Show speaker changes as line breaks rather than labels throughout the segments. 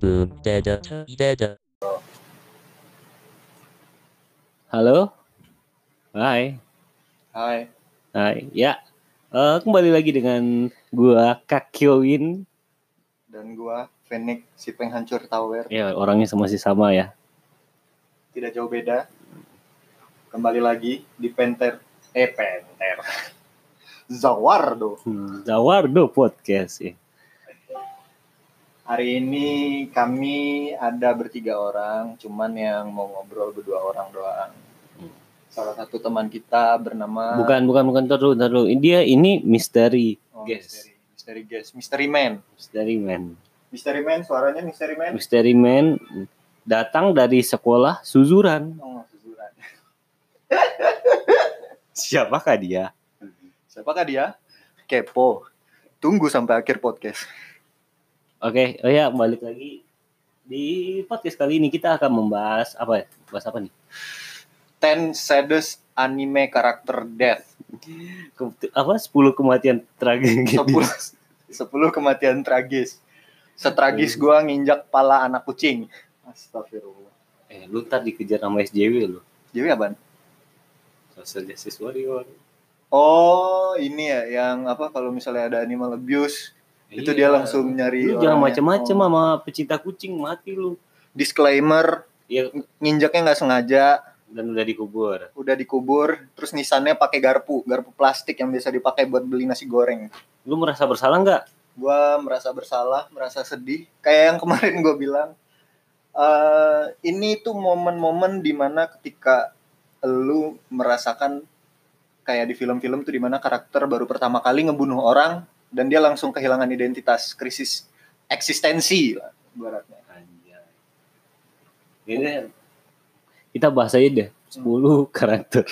Boom, dada, dada.
Halo? Hai.
Hai.
Hai. Ya. Eh, kembali lagi dengan gua Kak Kyowin.
Dan gua Fenix si penghancur tower
Ya, orangnya sama masih sama ya.
tidak jauh beda. Kembali lagi di Penter eh Penter. Zawardo.
Hmm, Zawardo Podcast ya.
Hari ini kami ada bertiga orang, cuman yang mau ngobrol berdua orang doang. Salah satu teman kita bernama
Bukan, bukan, bukan taruh, taruh. Dia ini misteri,
oh,
guest.
Misteri, misteri guest, Misteri Man.
misteri man.
Misteri Man suaranya Misteri Man.
Misteri man datang dari sekolah Suzuran.
Oh, kesusuran.
Siapakah dia?
Siapakah dia? Kepo. Tunggu sampai akhir podcast.
Oke, oh ya balik lagi di podcast kali ini kita akan membahas apa? ya? Bahas apa nih?
10 saddest anime karakter death.
Ke- apa 10 kematian tragedi.
10, 10 kematian tragis. Setragis gua nginjak pala anak kucing. Astagfirullah.
Eh, lu ntar dikejar sama SJW lu.
Jadi apaan?
Social Justice Warrior.
Oh, ini ya yang apa kalau misalnya ada animal abuse, itu dia langsung
Iya.
nyari
Lu jangan
orangnya.
macem-macem
Oh.
sama pecinta kucing mati lu.
Disclaimer,
Iya,
nginjaknya nggak sengaja,
dan udah dikubur.
udah dikubur, terus nisannya pakai garpu, garpu plastik yang biasa dipakai buat beli nasi goreng.
Lu merasa bersalah nggak?
Gua merasa bersalah, merasa sedih. Kayak yang kemarin gue bilang, eh, ini tuh momen-momen dimana ketika lu merasakan kayak di film-film tuh dimana karakter baru pertama kali ngebunuh orang dan dia langsung kehilangan identitas, krisis eksistensi lah ibaratnya.
Anjay. Ini kita bahas aja deh
Hmm.
10 karakter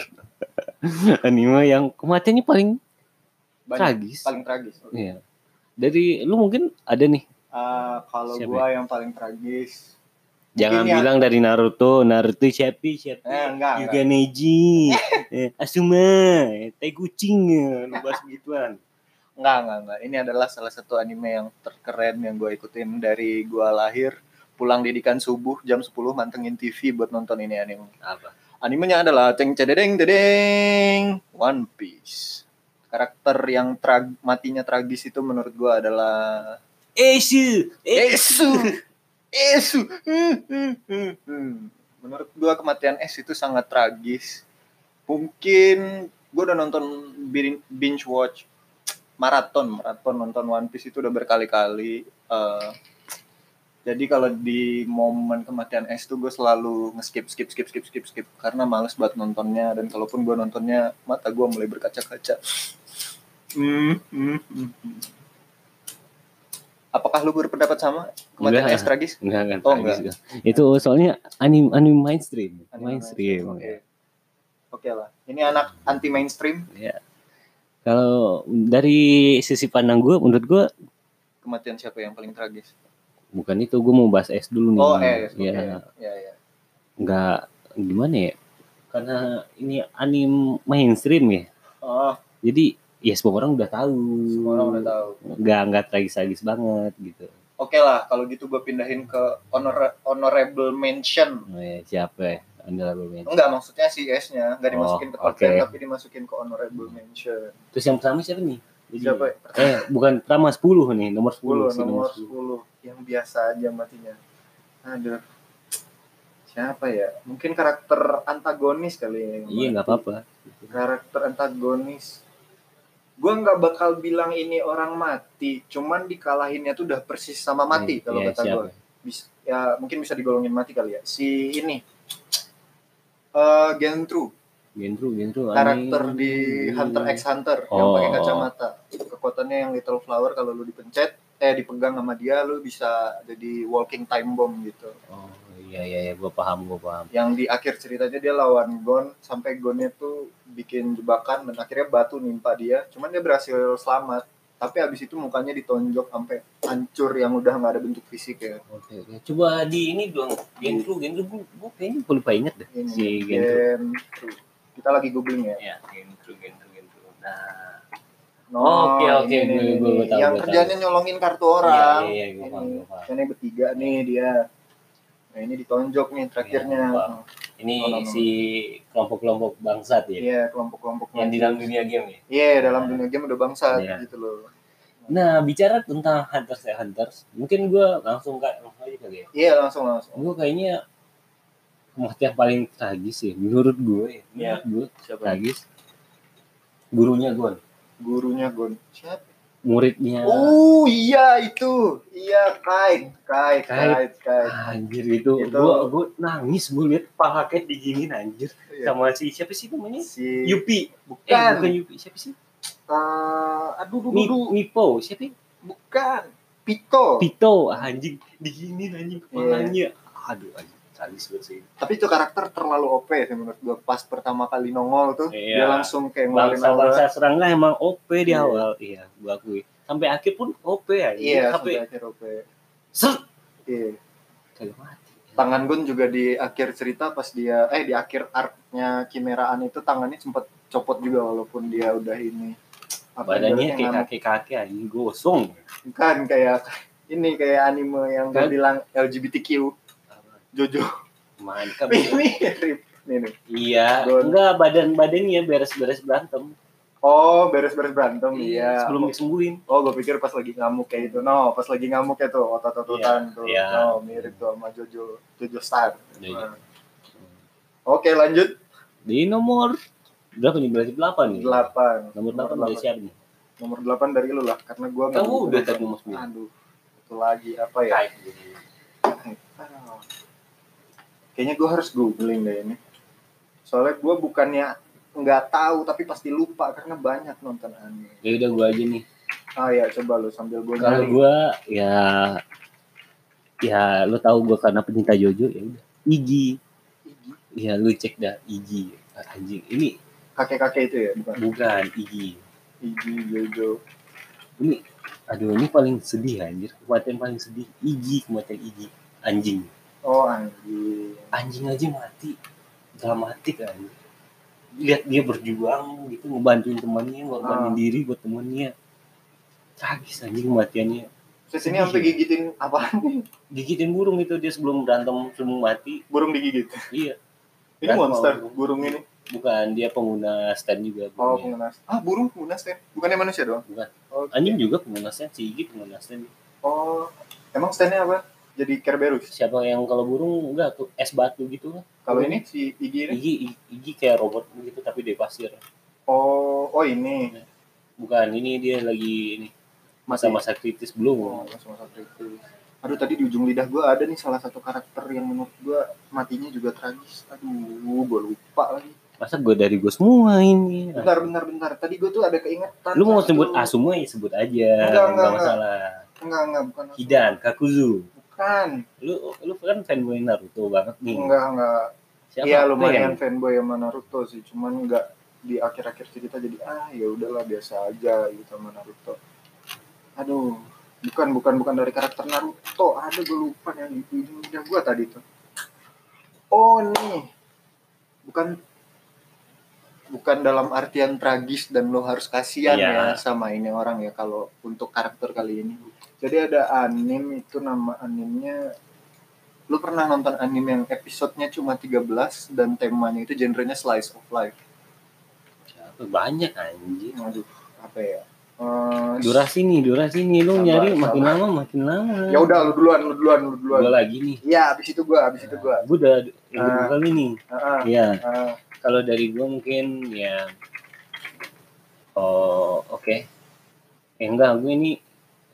anime yang kematiannya paling
Banyak,
tragis.
paling tragis.
Iya. Dari lu mungkin ada nih.
Eh, kalau
Siapa
gua yang paling tragis,
Jangan
ya.
bilang dari Naruto, Naruto siapa siapa.
eh enggak, enggak.
Yuganeji, eh, Asuma, eh, tai kucing, eh, lu bahas begituan.
Enggak, enggak, enggak. Ini adalah salah satu anime yang terkeren yang gue ikutin dari gue lahir, pulang didikan subuh jam 10 mantengin TV buat nonton ini anime.
Apa?
Animenya adalah Teng Cededeng Dedeng One Piece. Karakter yang trag- matinya tragis itu menurut gue adalah
Esu,
Esu. Esu. Hmm, hmm, hmm, hmm. Menurut gue kematian Es itu sangat tragis. Mungkin gue udah nonton bin- binge watch maraton maraton nonton One Piece itu udah berkali-kali. Eh, jadi kalau di momen kematian Es tuh gue selalu nge-skip skip skip skip skip skip karena males buat nontonnya dan kalaupun gue nontonnya mata gue mulai berkaca-kaca. Hmm, hmm, hmm, hmm. Apakah lu berpendapat sama kematian
Enggak.
Es tragis?
Enggak, enggak,
Oh,
tragis enggak. Itu soalnya anime anime mainstream,
Anime
mainstream.
Oke. Oke lah. Ini anak anti mainstream
Kalau dari sisi pandang gue, menurut gue
kematian siapa yang paling tragis?
bukan itu. Gue mau bahas S dulu nih.
Oh, eh, oke.
Ya,
Ya, ya.
nggak gimana ya? Karena ini anime mainstream ya.
Oh,
Jadi ya semua orang udah tahu.
semua orang udah tahu.
Nggak nggak tragis-tragis banget gitu.
Oke lah, kalau gitu gue pindahin ke honor honorable mention.
Oh, ya, siapa ya? Anda lalu main.
Enggak, maksudnya si S-nya enggak dimasukin
Oh,
ke top 10,
oke.
tapi dimasukin ke honorable mention.
Terus yang pertama siapa nih? Jadi-
Siapa?
Eh, bukan pertama 10 nih, nomor 10,
10,
sih,
nomor
10.
10 yang biasa aja matinya. Aduh. Siapa ya? Mungkin karakter antagonis kali ya. yang
Iya, nggak apa-apa.
karakter antagonis gue nggak bakal bilang ini orang mati cuman dikalahinnya tuh udah persis sama
Nih,
mati kalau
ya,
kata
siapa?
gue ya mungkin bisa digolongin mati kali ya si ini eh Gentru
Gendru, Gendru.
karakter
aneh.
di Hunter x Hunter yang
Oh.
pakai kacamata kekuatannya yang Little Flower kalau lu dipencet eh dipegang sama dia lu bisa jadi walking time bomb gitu
Oh iya iya, iya. gue paham gue paham.
yang di akhir ceritanya dia lawan Gon sampai Gonnya tuh bikin jebakan dan akhirnya batu nimpa dia cuman dia berhasil selamat tapi abis itu mukanya ditonjok sampai hancur yang udah nggak ada bentuk fisik ya
Oke oke. Coba di ini dong. Gendru Gendru gue gue kayaknya gue lupa inget deh.
ini
Si Gendru.
Gen- kita lagi googling ya
Ya Gendru Gendru Gendru. Nah,
No,
Oke, oke,
Oh, ini,
gue-
ini,
gue- gue
ini.
tahu,
yang
gue
kerjanya nyolongin kartu orang.
Iya, iya, gue paham, gue paham.
Ini yang bertiga nih dia. Nah, ini ditonjok nih terakhirnya.
Iya, gue paham. ini
Oh, no, no.
si kelompok-kelompok bangsat ya,
Iya, kelompok-kelompok
yang di dalam dunia game ya.
Iya, dalam dunia game udah bangsa
Iya.
gitu loh.
Nah, bicara tentang Hunters x Hunters, mungkin gue langsung kayak langsung aja kali ya.
Iya, langsung langsung.
Gue kayaknya kematian paling tragis sih, menurut gue. ya.
Iya.
Menurut gue
Siapa?
tragis. Gurunya gue,
Gurunya Gon. Siapa?
muridnya.
Oh iya itu, iya kait, kait, kait, kait.
Ah, Anjir itu,
Itu-
gua gua nangis gue liat paha kayak diginin anjir
Iya.
sama si siapa sih namanya?
Si
Yupi.
bukan,
Eh, bukan Yupi, siapa sih?
Eh, aduh, aduh,
Mi,
aduh.
Mipo, siapa? ya?
bukan, Pito.
Pito anjing diginin anjing
Iya.
kepalanya. Aduh anjing, tragis banget sih.
Tapi itu karakter terlalu OP sih menurut gua. Pas pertama kali nongol tuh,
Iya.
dia langsung kayak ngeluarin aura.
Bangsa-bangsa serangga emang OP di
Iya.
awal. Iya, gua akui. Sampai akhir pun OP anjing. Sampai
Iya, sampai akhir OP.
ser
Iya.
kagak mati.
Tangan Gun juga di akhir cerita pas dia eh di akhir arc-nya Kimeraan itu tangannya sempet copot juga walaupun dia udah ini. Apa
Badannya
ibaratnya
kayak
nama-
kakek-kakek anjing gosong.
Bukan kayak ini kayak anime yang gue
Kan?
bilang LGBTQ Jojo
Mantap.
mirip nih nih.
Iya,
Gon.
enggak badan-badannya beres-beres berantem.
Oh beres-beres berantem iya.
Sebelum disembuhin.
Oh gue pikir pas lagi ngamuk kayak itu. No pas lagi ngamuk ya tuh otot-ototan tuh.
iya.
No mirip tuh sama Jojo Jojo Star.
Jojo.
Nah. Oke lanjut
Di nomor berapa nih? Berarti delapan nih.
delapan.
Nomor delapan udah siap nih.
Nomor delapan dari lu lah karena gue nggak
Kamu
begitu
udah
nonton.
tadi nomor sembilan.
Aduh itu lagi apa ya?
Kayak gini.
Ah. Kayaknya gue harus googling deh ini. Soalnya gue bukannya nggak tahu tapi pasti lupa karena banyak nonton anime.
Ya udah gua aja nih.
Ah ya coba lu sambil gue
Kalau
nyari.
gua ya ya lu tahu gua karena pencinta Jojo ya udah. Igi. Ya lu cek dah Igi. Anjing, ini
Kakek-kakek itu ya bukan.
bukan Igi.
Iji Jojo.
Ini aduh ini paling sedih anjir. Kematian paling sedih Igi, kematian Igi. Anjing.
Oh anjing.
anjing aja mati dramatik kan lihat dia berjuang gitu ngebantuin temannya ngorbanin
Ah.
diri buat temannya tragis anjing kematiannya
Terus ini sampai gigitin apaan nih?
gigitin burung itu dia sebelum berantem sebelum mati
Burung digigit.
iya
Ini
Dan
monster
mau-
burung ini.
bukan dia pengguna stand juga Iya.
Oh
burungnya.
pengguna. Ah burung pengguna stand. Bukannya manusia doang?
Bukan.
Oh,
anjing juga pengguna stand si Igi pengguna stand
oh. emang standnya apa? Jadi Kerberus.
siapa yang kalau burung enggak tuh es batu gitu lah
Kalau ini si Igi ini.
Igi Igi- Igi kayak robot gitu tapi dari pasir
Oh oh ini.
bukan ini dia lagi ini masa-masa kritis belum
Oh, masa-masa kritis. Aduh tadi di ujung lidah gua ada nih salah satu karakter yang menurut gua matinya juga tragis. Aduh, gua lupa lagi.
masa gue dari gue semua ini
Bentar, bentar, bentar. Tadi gua tuh ada keingetan.
lu mau
satu.
sebut ah semua ya sebut aja
Enggak, enggak,
masalah
Enggak, enggak, bukan. aku.
Hidan Kakuzu
Bukan.
lu lu kan fanboy Naruto banget nih
Enggak, enggak.
siapa
Iya,
yang
lumayan fanboy sama Naruto sih. Cuman enggak di akhir-akhir cerita jadi ah ya udahlah biasa aja gitu sama Naruto. Aduh, bukan bukan bukan dari karakter Naruto. Ada gua lupa yang di ujung lidah gua tadi tuh. Oh, nih. Bukan bukan dalam artian tragis dan lo harus kasihan
Iya.
ya sama ini orang ya kalau untuk karakter kali ini. Jadi ada anime itu nama animenya lu pernah nonton anime yang episodenya cuma 13 dan temanya itu genrenya slice of life.
siapa banyak anjing
Aduh, apa ya? Eh,
durasi nih durasi nih lu
Sabar,
nyari makin
sabar.
lama makin lama
Ya udah lu duluan, lu duluan, lu duluan.
gue lagi nih
Iya, abis itu gua, abis itu gua.
gue udah yang
Ah.
kedua kali nih
Heeh.
ya
heeh.
kalau dari gue mungkin ya oh oke eh, enggak gue ini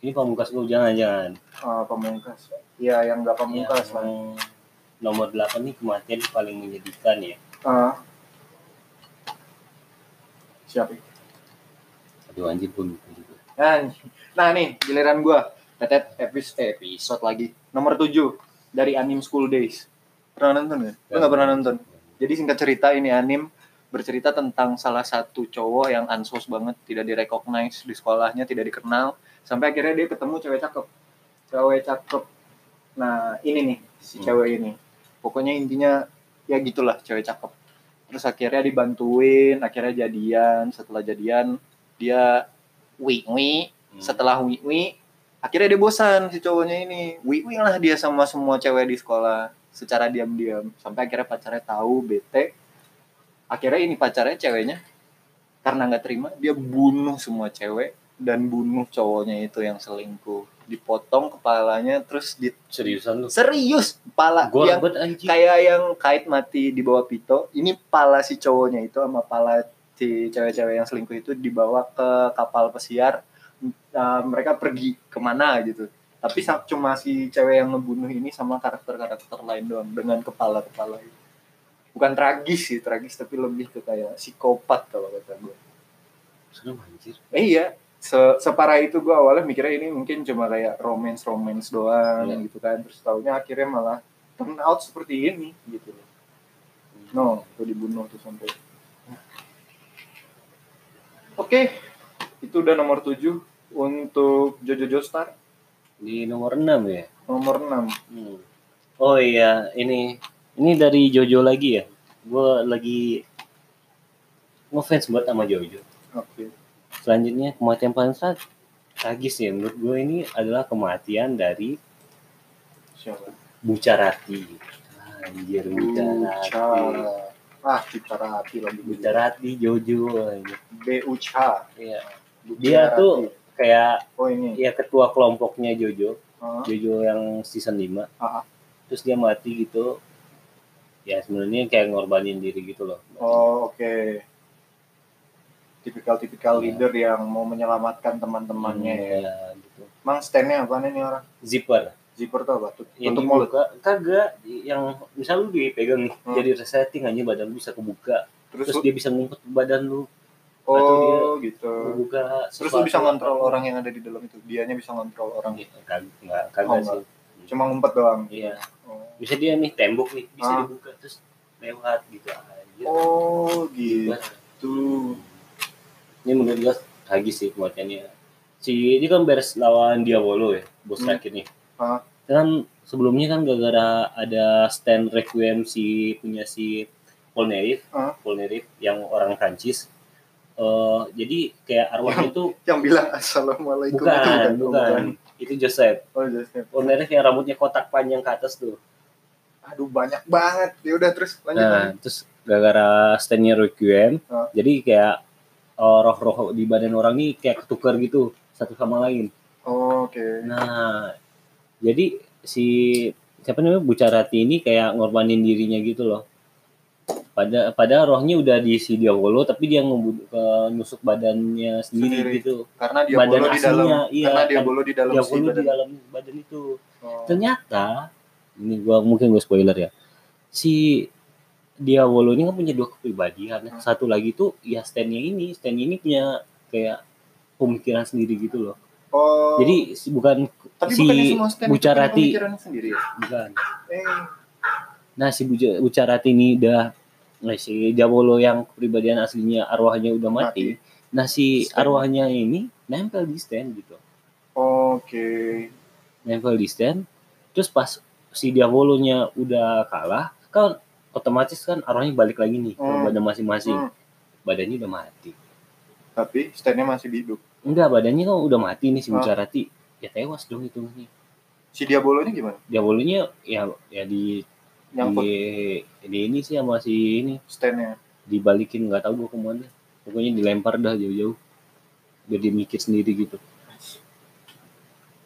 ini pamungkas gue jangan jangan
Eh, pemungkas. Iya, yang enggak pemungkas lah.
yang nomor 8 nih kematian paling menyedihkan ya
Eh. siapa? ini?
aduh anjir gue lupa juga
Nah, nih. nah nih, giliran gua. Tetet episode episode lagi. Nomor 7 dari Anime School Days. Pernah nonton ya? Lu enggak pernah nonton? Jadi singkat cerita ini anim bercerita tentang salah satu cowok yang ansos banget, tidak direcognize di sekolahnya, tidak dikenal, sampai akhirnya dia ketemu cewek cakep. Cewek cakep. Nah, ini nih si
Hmm.
cewek ini. Pokoknya intinya ya gitulah cewek cakep. terus akhirnya dibantuin akhirnya jadian setelah jadian dia wi wi
Hmm.
setelah wi wi akhirnya dia bosan si cowoknya ini wi wi lah dia sama semua cewek di sekolah secara diam diam sampai akhirnya pacarnya tahu bete akhirnya ini pacarnya ceweknya karena nggak terima dia bunuh semua cewek dan bunuh cowoknya itu yang selingkuh dipotong kepalanya terus di
seriusan lu
serius pala
gue
yang
ribet anjing
iya. kayak yang kait mati di bawah pito ini pala si cowoknya itu sama pala si cewek-cewek yang selingkuh itu dibawa ke kapal pesiar Eh, mereka pergi kemana gitu tapi sa- cuma si cewek yang ngebunuh ini sama karakter-karakter lain doang dengan kepala-kepala itu bukan tragis sih tragis tapi lebih ke kayak psikopat kalau kata gue
serem anjir
Eh, iya, Se- separah itu gue awalnya mikirnya ini mungkin cuma kayak romance romance doang
Iya.
gitu kan. Terus taunya akhirnya malah turn out seperti ini gitu. loh. No, tuh dibunuh tuh sampai. Oke, itu udah nomor 7 untuk Jojo Joestar.
di nomor 6 ya
Nomor 6.
Hmm. Oh iya, ini ini dari Jojo lagi ya. Gue lagi ngefans buat sama Jojo.
Oke.
Selanjutnya kematian paling tra- tragis ya menurut gue ini adalah kematian dari
Siapa?
Bucarati. Anjir Bucarati.
Uca. Ah, Bucarati lagi.
Bucarati Jojo. anjir.
B-U-C-A.
Iya. Dia tuh kayak
Oh ini.
ya ketua kelompoknya Jojo,
Ah,
Jojo yang season 5.
ah, ah.
Terus dia mati gitu. Ya sebenarnya kayak ngorbanin diri gitu loh.
Oh oke. Tipikal-tipikal
Iya.
leader yang mau menyelamatkan teman-temannya ya.
Iya, gitu.
Emang stand-nya apa nih orang?
Zipper.
Zipper tuh apa? Tut-
Yang
Tutup mulut.
dibuka kagak yang misal lu dipegang nih,
Hmm.
jadi resetting aja badan lu bisa kebuka.
Terus,
Terus
lu-
dia bisa ngumpet badan lu, atau
oh gitu.
kebuka
Terus lu bisa ngontrol orang yang ada di dalam itu. Dianya bisa ngontrol orang.
Kagak enggak
Oh,
kagak
enggak.
sih.
Cuma ngumpet doang.
Iya.
Oh,
Bisa dia nih tembok nih, bisa
Ah.
dibuka terus lewat gitu aja.
Oh, gitu.
Ini menurut gua tragis sih kematiannya. Si ini kan beres lawan Diabolo ya, bos
Hmm.
terakhir nih.
Ah.
Kan sebelumnya kan gara-gara ada stand requiem si punya si Polnareff,
Ah.
Polnareff yang orang Prancis. Eh, jadi kayak arwahnya itu
Yang bilang assalamualaikum itu
bukan,
Oh,
bukan. Itu Joseph.
Oh, Joseph.
Polnareff yang rambutnya kotak panjang ke atas tuh.
Aduh banyak banget. Ya udah terus lanjut.
Nah, terus gara-gara standnya Requiem,
Ah.
jadi kayak eh, roh-roh di badan orang ini kayak ketukar gitu satu sama lain.
Oh, oke.
Nah, jadi si siapa namanya Bucarati ini kayak ngorbanin dirinya gitu loh. Pada pada rohnya udah di si Diabolo tapi dia ngebun- ke nusuk badannya sendiri,
Sendiri.
gitu.
Karena dia bolo
Badan
di dalam
aslinya, iya,
karena dia
kan-
bolo di dalam si
Diabolo di
badan.
dalam badan itu.
Oh.
Ternyata ini gua mungkin gua spoiler ya. Si Diabolo ini kan punya dua kepribadian.
Hmm.
Satu lagi tuh ya standnya ini, stand ini punya kayak pemikiran sendiri gitu loh.
Oh.
Jadi si- bukan
Tapi
si
bukannya semua stand itu punya
Bucarati.
pemikiran sendiri ya?
bukan
Eh,
Nah si Buja- Bucarati ini udah nah, si Jabolo yang kepribadian aslinya arwahnya udah mati. Nah si
Stand.
arwahnya ini nempel di stand gitu.
Oke.
Nempel di stand. Terus pas si Diabolonya udah kalah, kan otomatis kan arwahnya balik lagi nih ke
Hmm.
badan masing-masing.
Hmm.
Badannya udah mati.
Tapi standnya masih hidup.
Enggak, badannya kan udah mati nih si
Ah.
Bucarati. Ya tewas dong itu nih.
Si Diabolonya gimana?
Diabolonya ya ya di
Nyangkut
di, di ini sih sama si ini
standnya.
dibalikin nggak tahu gue kemana pokoknya dilempar dah jauh-jauh biar dia mikir sendiri gitu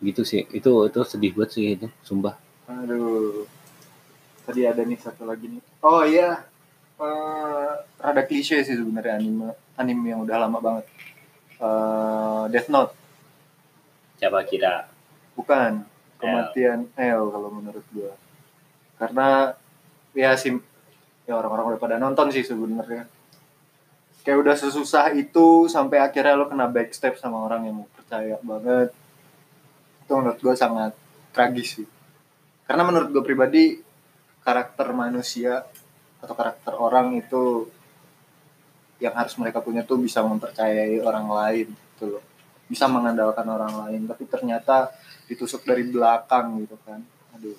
gitu sih itu itu sedih banget sih itu sumpah
Aduh. Tadi ada nih satu lagi nih. Oh iya. Eh, rada klise sih sebenarnya anime anime yang udah lama banget. Eh, Death Note
coba kira
bukan kematian L kalau menurut gua. Karena ya sim ya orang-orang udah pada nonton sih sebenarnya. Kayak udah sesusah itu sampai akhirnya lo kena backstep sama orang yang mau percaya banget. Itu menurut gua sangat tragis sih. Karena menurut gua pribadi karakter manusia atau karakter orang itu yang harus mereka punya tuh bisa mempercayai orang lain gitu loh. Bisa mengandalkan orang lain, tapi ternyata ditusuk dari belakang gitu kan aduh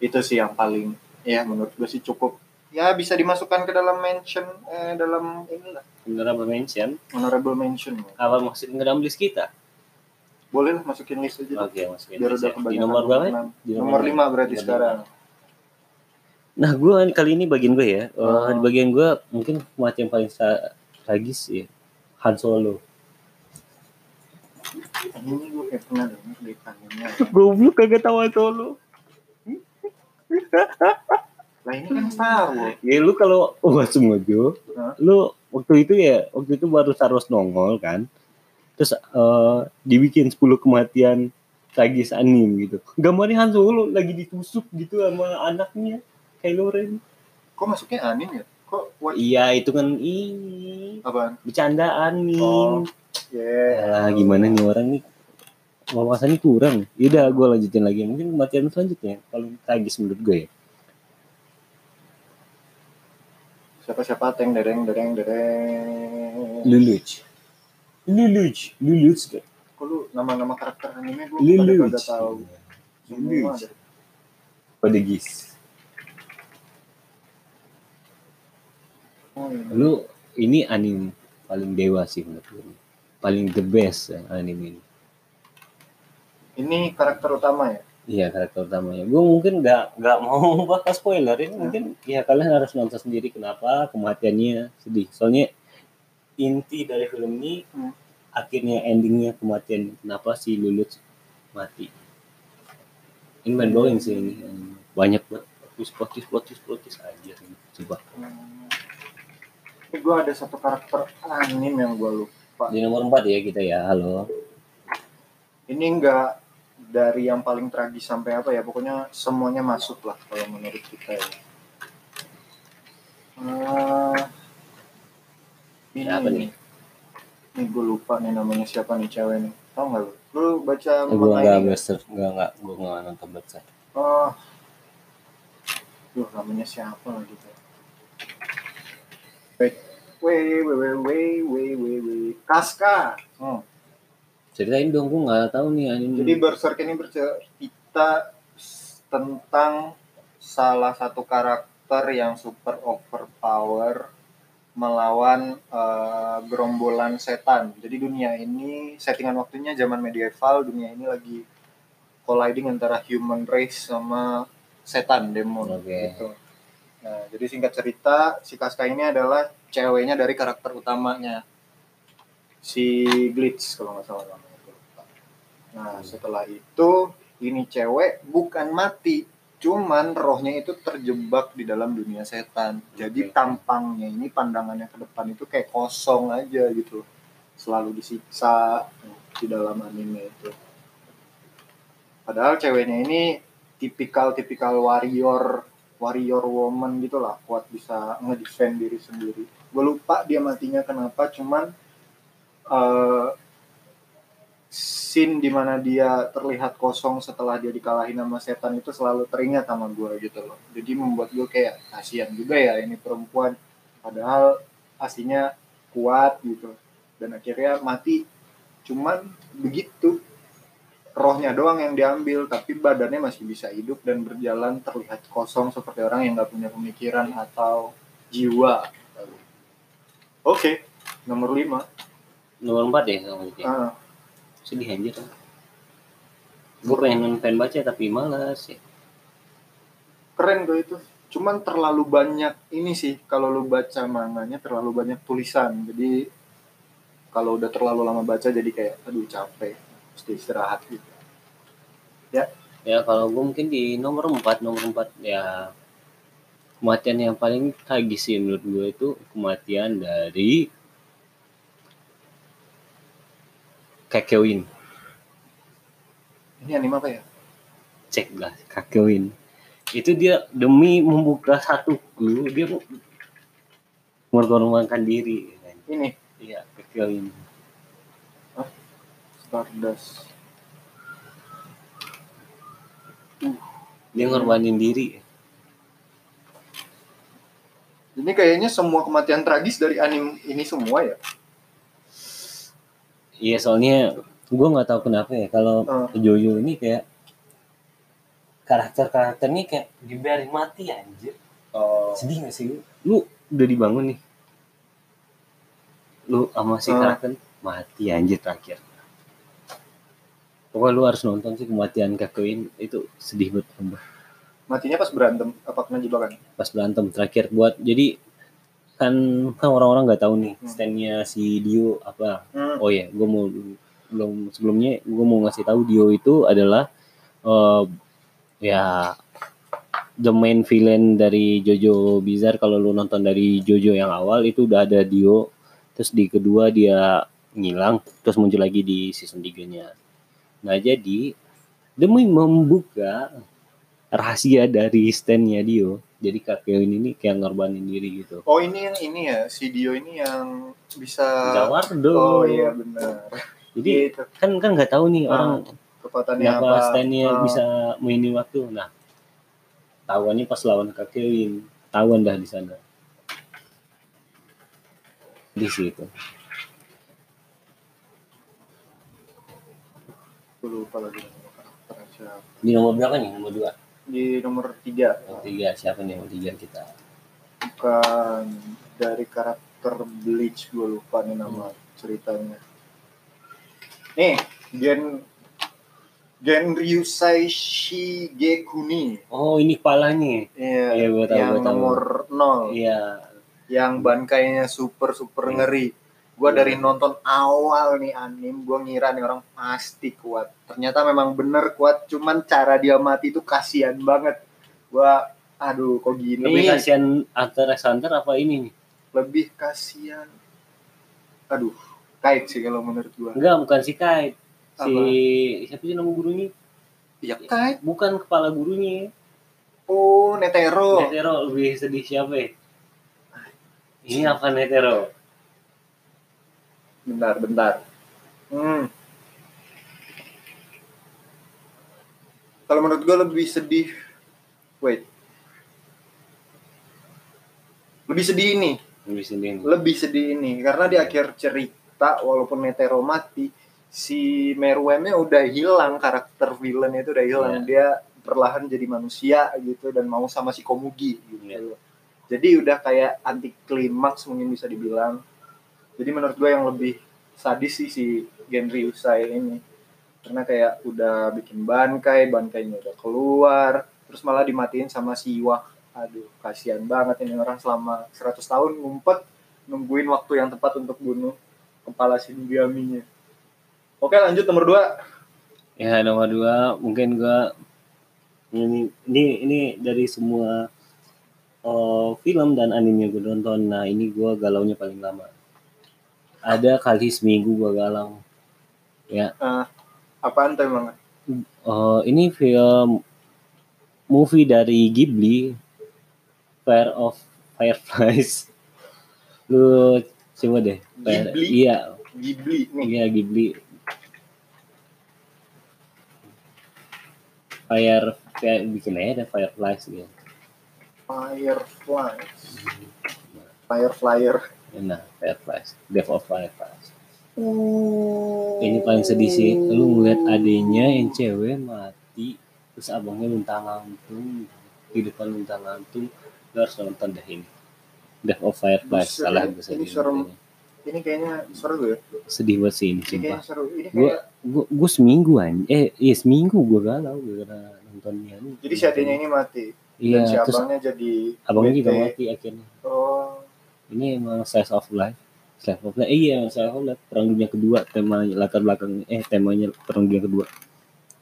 itu sih yang paling ya menurut gue sih cukup ya bisa dimasukkan ke dalam mention eh, dalam inilah
honorable mention
honorable mention
apa maksudnya dalam list kita
boleh lah masukin list aja
oke masukin
biar
list
udah
ya.
kebanyakan
di nomor berapa ya?
enam.
Di
nomor
berapa?
lima berarti
Nomor lima.
sekarang
nah gue kali ini bagian gue ya Eh,
Hmm.
di bagian gue mungkin mati yang paling sa- tragis ya Han Solo
Ah, ini gue kayak pernah denger di tangannya
bro lu kagak tahu Han Solo
lah ini kan Star Wars
ya lu kalau nggak sengaja
Hah?
lu waktu itu ya waktu itu baru Star Wars nongol kan terus eh, dibikin 10 kematian tragis anim gitu gambarnya Han Solo lagi ditusuk gitu sama anaknya Kylo Ren
kok masuknya anime ya kok what
iya itu kan ini
apaan
bercandaan nih
Oh.
Alah,
ya
gimana nih orang nih wawasannya kurang yaudah gue lanjutin lagi mungkin kematian selanjutnya paling tragis menurut gue ya
siapa-siapa teng dereng dereng dereng
Luluch Luluch Luluch gak?
kok lu nama-nama karakter anime gue
Luluch
pada tahu semua
Luluch
ada.
Pedegis
Oh, iya.
lu ini anime paling dewa sih menurut gue paling the best ya, anime ini
ini karakter utama ya
iya karakter utamanya gue mungkin nggak nggak mau bahas spoiler
Ah.
ini mungkin ya kalian harus nonton sendiri kenapa kematiannya sedih soalnya inti dari film ini
Hmm.
akhirnya endingnya kematian kenapa si Lulut mati ini mind blowing sih ini banyak banget potis potis potis potis aja ini coba
Hmm. Tapi gue ada satu karakter anime yang gue lupa.
di nomor 4 ya kita ya halo
Ini enggak dari yang paling tragis sampai apa ya, pokoknya semuanya masuk lah kalau menurut kita ya. Eh, ini
Siapa nih?
nih? Nih gue lupa nih namanya siapa nih cewek nih. Tau nggak lu? Lu baca
Eh, gue nggak
mengenai
blaster nggak nggak gue nggak nonton blaster
Oh. Duh, namanya siapa lah gitu. Wait, wait, wait, wait, wait, wait, wait, wait. Kaska. Hmm.
ceritain dong gue nggak tahu nih anime
Jadi Berserk ini bercerita s- tentang salah satu karakter yang super overpower melawan eh, gerombolan setan. Jadi dunia ini settingan waktunya zaman medieval, dunia ini lagi colliding antara human race sama setan
Oke.
demon gitu. Nah, jadi singkat cerita si Kaska ini adalah ceweknya dari karakter utamanya si Glitch kalau nggak salah namanya. Gua lupa. Nah setelah itu ini cewek bukan mati, cuman rohnya itu terjebak di dalam dunia setan. Jadi
Oke.
tampangnya ini pandangannya ke depan itu kayak kosong aja gitu, selalu disiksa di dalam anime itu. Padahal ceweknya ini tipikal-tipikal warrior warrior woman gitulah kuat bisa ngedefend diri sendiri. Gue lupa dia matinya kenapa, cuman eh scene dimana dia terlihat kosong setelah dia dikalahin sama setan itu selalu teringat sama gue gitu loh. Jadi membuat gue kayak kasihan juga ya ini perempuan. Padahal aslinya kuat gitu. Dan akhirnya mati. Cuman begitu. Rohnya doang yang diambil, tapi badannya masih bisa hidup dan berjalan terlihat kosong seperti orang yang nggak punya pemikiran atau jiwa. Oke, nomor lima.
nomor empat ya sama dia
Ah.
sedih anjir gue pengen pengen baca tapi malas ya
keren tuh itu cuman terlalu banyak ini sih kalau lu baca manganya terlalu banyak tulisan jadi kalau udah terlalu lama baca jadi kayak aduh capek mesti istirahat gitu
ya kalau gue mungkin di nomor empat nomor empat ya kematian yang paling tragis sih menurut gue itu kematian dari Kakewin
ini anime apa ya
cek lah Kakewin itu dia demi membuka satu clue dia mengorbankan diri ya kan.
ini
iya Kakewin
Stardust
dia ngorbanin diri
ini kayaknya semua kematian tragis dari anime ini semua ya
Iya soalnya gue nggak tahu kenapa ya kalau
Hmm.
Jojo ini kayak karakter karakternya kayak dibiarin mati anjir.
Oh,
Sedih gak sih lu? Lu udah dibangun nih. Lu sama si
Hmm.
Kraken mati anjir terakhir. Pokoknya lu harus nonton sih kematian Kakuin itu sedih banget sumpah.
matinya pas berantem apa kena jebakan?
pas berantem terakhir buat jadi kan kan orang-orang nggak tahu nih
Hmm.
standnya si Dio apa
Hmm.
Oh iya, gue mau belum sebelumnya gue mau ngasih tahu Dio itu adalah eh, ya the main villain dari Jojo Bizarre. Kalau lu nonton dari Jojo yang awal itu udah ada Dio, terus di kedua dia ngilang, terus muncul lagi di season 3-nya. Nah, jadi demi membuka rahasia dari stand-nya Dio, jadi kakek ini nih kayak ngorbanin diri gitu.
Oh ini yang ini ya, si Dio ini yang bisa.
Jawardo.
Oh iya benar.
Jadi
Gitu,
kan kan nggak tahu nih
Ah.
orang
kekuatannya
kenapa
apa?
Stanley
Ah.
bisa mainin waktu nah tawannya pas lawan Kakewin tawan dah di sana di situ
Aku lupa lagi nama karakternya siapa.
di nomor berapa nih nomor dua
Di nomor tiga
nomor tiga siapa nih nomor tiga kita
bukan dari karakter Bleach gue lupa nih nama ceritanya. Nih Gen Gen Ryusai Shigekuni.
oh ini kepalanya
Iya,
Iya, gua tahu,
yang
gua tahu.
nomor nol,
iya
yang bankainya super super ngeri. Gua
Iya.
dari nonton awal nih anim, gua ngira nih orang pasti kuat. Ternyata memang bener kuat, cuman cara dia mati itu kasihan banget. Gua aduh kok gini.
lebih kasihan Hunter x Hunter apa ini nih
lebih kasihan aduh kait sih kalau menurut gua
enggak bukan si Kite si siapa sih nama gurunya
ya kait
bukan kepala gurunya
oh netero
Netero lebih sedih siapa ya ini apa Netero
bentar bentar hmm. kalau menurut gua lebih sedih wait lebih sedih ini
lebih sedih nih.
lebih sedih ini karena di akhir cerita walaupun Netero mati si Meruemnya udah hilang karakter villain itu udah hilang
Iya.
dia perlahan jadi manusia gitu dan mau sama si Komugi gitu
Iya.
loh. jadi udah kayak anti klimaks mungkin bisa dibilang jadi menurut gue yang lebih sadis sih si Genry Usai ini karena kayak udah bikin bangkai bangkainya udah keluar terus malah dimatiin sama si Iwa aduh kasihan banget ini orang selama 100 tahun ngumpet nungguin waktu yang tepat untuk bunuh kepala Shinigaminya oke lanjut nomor dua
Ya nomor dua mungkin gua ini ini ini dari semua eh, film dan anime yang gue nonton. Nah ini gua galaunya paling lama. Ada kali seminggu gua galau.
Eh, apaan tuh emang
Eh, ini film movie dari Ghibli, Fire of Fireflies. Lu coba deh. Fire-
Ghibli?
Iya,
Ghibli nih
Iya Ghibli. Fire, kayak bikin aja ada Fireflies gitu.
Firefly Fireflyer
Nah, Fireflies, Death of Fireflies.
Uh.
Ini paling sedih sih, lu ngeliat adiknya yang cewek mati, terus abangnya luntang lantung, kehidupan luntang lantung, lu harus nonton deh ini. Death of Fireflies,
Buset,
salah
ini
gue sedih.
serem.
namanya.
ini kayaknya seru tuh ya
Sedih banget sih ini,
ini
sumpah.
kayaknya seru ini
Gua-
kayak
Gue gua seminggu anj- eh iya seminggu gue galau gara-gara nontonnya.
jadi si adiknya ini mati
Iya,
dan si
terus
abangnya jadi
abangnya juga
bete.
mati akhirnya
oh
ini emang slice of life slice of life iya emang slice of life perang dunia kedua temanya latar belakang eh temanya perang dunia kedua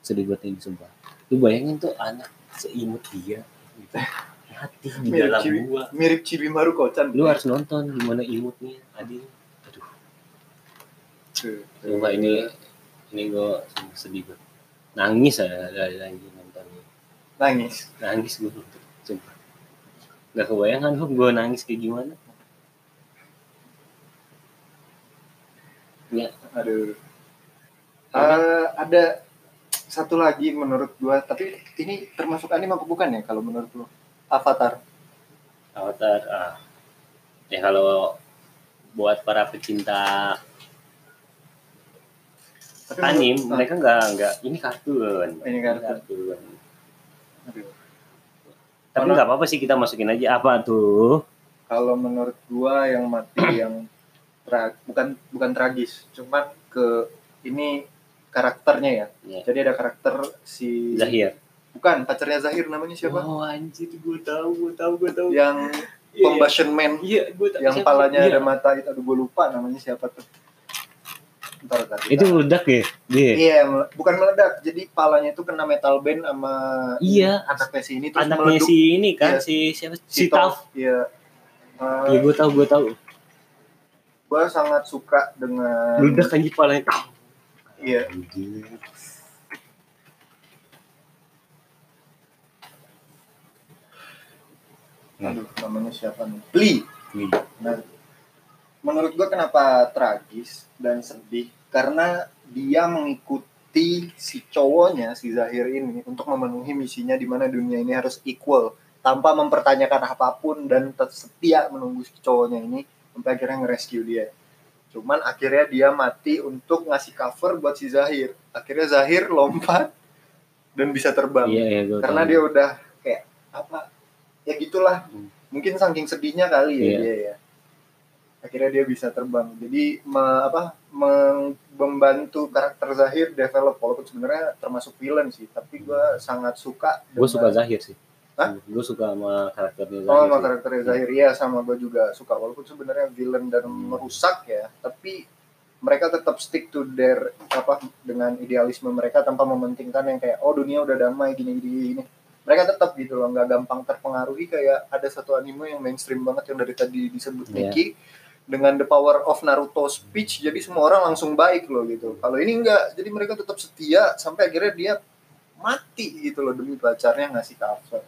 sedih banget ini sumpah lu bayangin tuh anak seimut dia gitu mati di
Mirip
dalam
Ciwi.
gua
mirip Cibimaru Kocan
lu harus nonton gimana imutnya adiknya aduh
Tuh.
sumpah ini ini gua sumpah sedih banget nangis ada dari lagi nontonnya
nangis
nangis gua nonton sumpah gak kebayangan lu gua nangis kayak gimana
Aduh. Eh, ada satu lagi menurut gua, tapi ini termasuk anime apa bukan ya kalau menurut lu? Avatar.
Avatar. Ah. Ya kalau buat para pecinta
Tapi
anim,
menurut- Ah,
mereka nggak nggak ini kartun.
Ini kartun.
kartun.
Aduh.
Tapi
Mana-
nggak apa-apa sih kita masukin aja apa tuh?
kalau menurut gua yang mati yang tra- bukan bukan tragis cuman ke ini karakternya ya
Iya.
jadi ada karakter si
Zahir.
bukan pacarnya Zahir namanya siapa
Oh anjir, gue tahu, gue tahu, gue tahu.
yang
Iya,
combustion man
Iya, gue tahu.
yang
siapa.
palanya
Iya.
ada mata itu aduh gua lupa namanya siapa tuh Ntar, ntar,
Itu
ntar.
meledak ya? Dia.
Iya, mele- bukan meledak. Jadi palanya itu kena metal band sama
Iya.
anaknya si ini terus
Anaknya
meleduk.
si ini kan,
Iya.
si siapa? Si
Si
Taf.
Toph. Iya. Eh,
Iya, gue tahu, gue tahu.
gua sangat suka dengan
Meledak anjir palanya.
Iya.
Anjir.
Aduh, namanya siapa nih? Lee.
Lee.
Nah, menurut gua kenapa tragis dan sedih? Karena dia mengikuti si cowoknya, si Zahir ini untuk memenuhi misinya di mana dunia ini harus equal tanpa mempertanyakan apapun dan tetap setia menunggu si cowoknya ini sampai akhirnya ngerescue dia. Cuman akhirnya dia mati untuk ngasih cover buat si Zahir. Akhirnya Zahir lompat dan bisa terbang
Iya, iya, gue
karena dia udah kayak apa ya gitulah
Hmm.
mungkin saking sedihnya kali ya
Iya.
dia ya akhirnya dia bisa terbang jadi me- apa meng- membantu karakter Zahir develop walaupun sebenarnya termasuk villain sih tapi gua sangat suka
Gue suka
dengan-
Zahir sih.
Hah?
Gue suka sama karakternya Zahir.
Oh, sama
sih.
karakternya Zahir ya sama gue juga suka walaupun sebenarnya villain dan merusak ya, tapi mereka tetap stick to their apa dengan idealisme mereka tanpa mementingkan yang kayak oh dunia udah damai gini gini gini. Mereka tetap gitu loh, nggak gampang terpengaruhi kayak ada satu anime yang mainstream banget yang dari tadi disebut
Iya.
Niki dengan the power of Naruto speech jadi semua orang langsung baik loh gitu. Kalau ini enggak, jadi mereka tetap setia sampai akhirnya dia mati gitu loh demi pacarnya ngasih cover.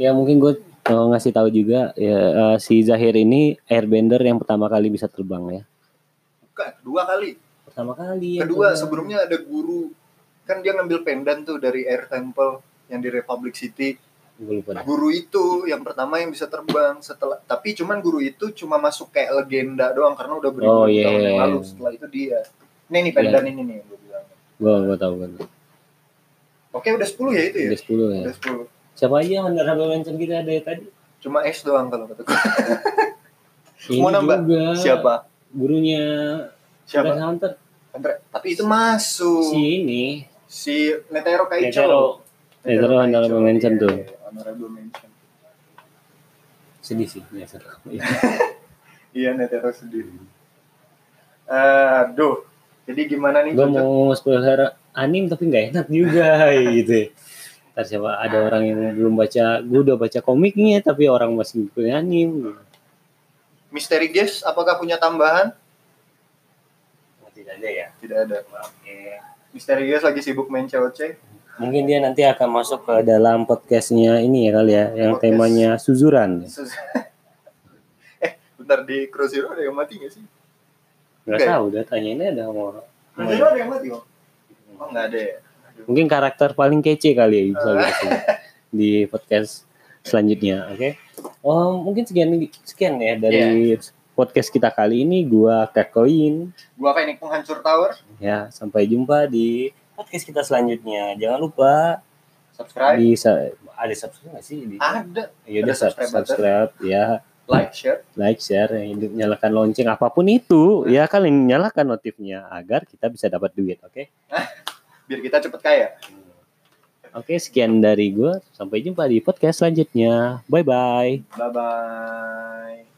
Ya mungkin gue ngasih tahu juga ya eh, si Zahir ini airbender yang pertama kali bisa terbang ya.
Bukan dua kali.
Pertama kali. ya, yang
Kedua
terbang.
sebelumnya ada guru kan dia ngambil pendan tuh dari Air Temple yang di Republic City.
Gue lupa dah.
Guru itu yang pertama yang bisa terbang setelah tapi cuman guru itu cuma masuk kayak legenda doang karena udah beribu
Oh, iya,
tahun yang
iya,
lalu
iya.
setelah itu dia. Ini nih pendan ini nih yang gua bilang.
Gue gue tahu kan.
Oke udah 10 ya itu ya.
Udah 10 ya.
Udah 10.
Siapa aja yang honorable mention kita dari tadi?
Cuma S doang kalau kata gua.
Ini
Mau nambah?
juga
Siapa?
Gurunya
Siapa?
Death Hunter.
Andre. Tapi itu masuk.
Si
Si,
ini.
Netero Kaicho.
Netero. Netero
Kaicho,
honorable mention
iya,
tuh.
iya, Honorable mention.
Sedih sih. Ya, seru.
Iya Netero sendiri. Eh, Aduh, jadi gimana nih?
gue
Cocok?
mau spoiler anim tapi nggak enak juga gitu. Ntar siapa ada orang yang belum baca, gue udah baca komiknya tapi orang masih ngikutin anim.
Misteri guest, apakah punya tambahan?
Tidak ada ya.
Tidak ada. Misteri guest lagi sibuk main COC.
Mungkin dia nanti akan masuk ke dalam podcastnya ini ya kali ya, yang
Podcast.
temanya suzuran.
Sus- eh, bentar di Crow Zero ada yang mati nggak sih?
Nggak
Oke.
tahu, udah tanya ini ada sama orang.
Crow Zero ada yang mati kok? Oh nggak ada ya.
Mungkin karakter paling kece kali ya
Ah.
bisa gitu sih, di podcast selanjutnya, oke? Oh, mungkin sekian sekian ya dari
Iya.
podcast kita kali ini. Gua Kakoin.
Gua kayak nih penghancur tower.
ya sampai jumpa di podcast kita selanjutnya jangan lupa
Subscribe.
di sa- ada subscribe nggak sih di
Ada.
ya udah
Ah, ada
sub-
subscribe button.
subscribe ya
Like, share.
like share yang hidup- nyalakan lonceng apapun itu ya kalian nyalakan notifnya agar kita bisa dapat duit oke
Biar kita cepet kaya.
oke sekian dari gue sampai jumpa di podcast selanjutnya bye bye
Bye bye.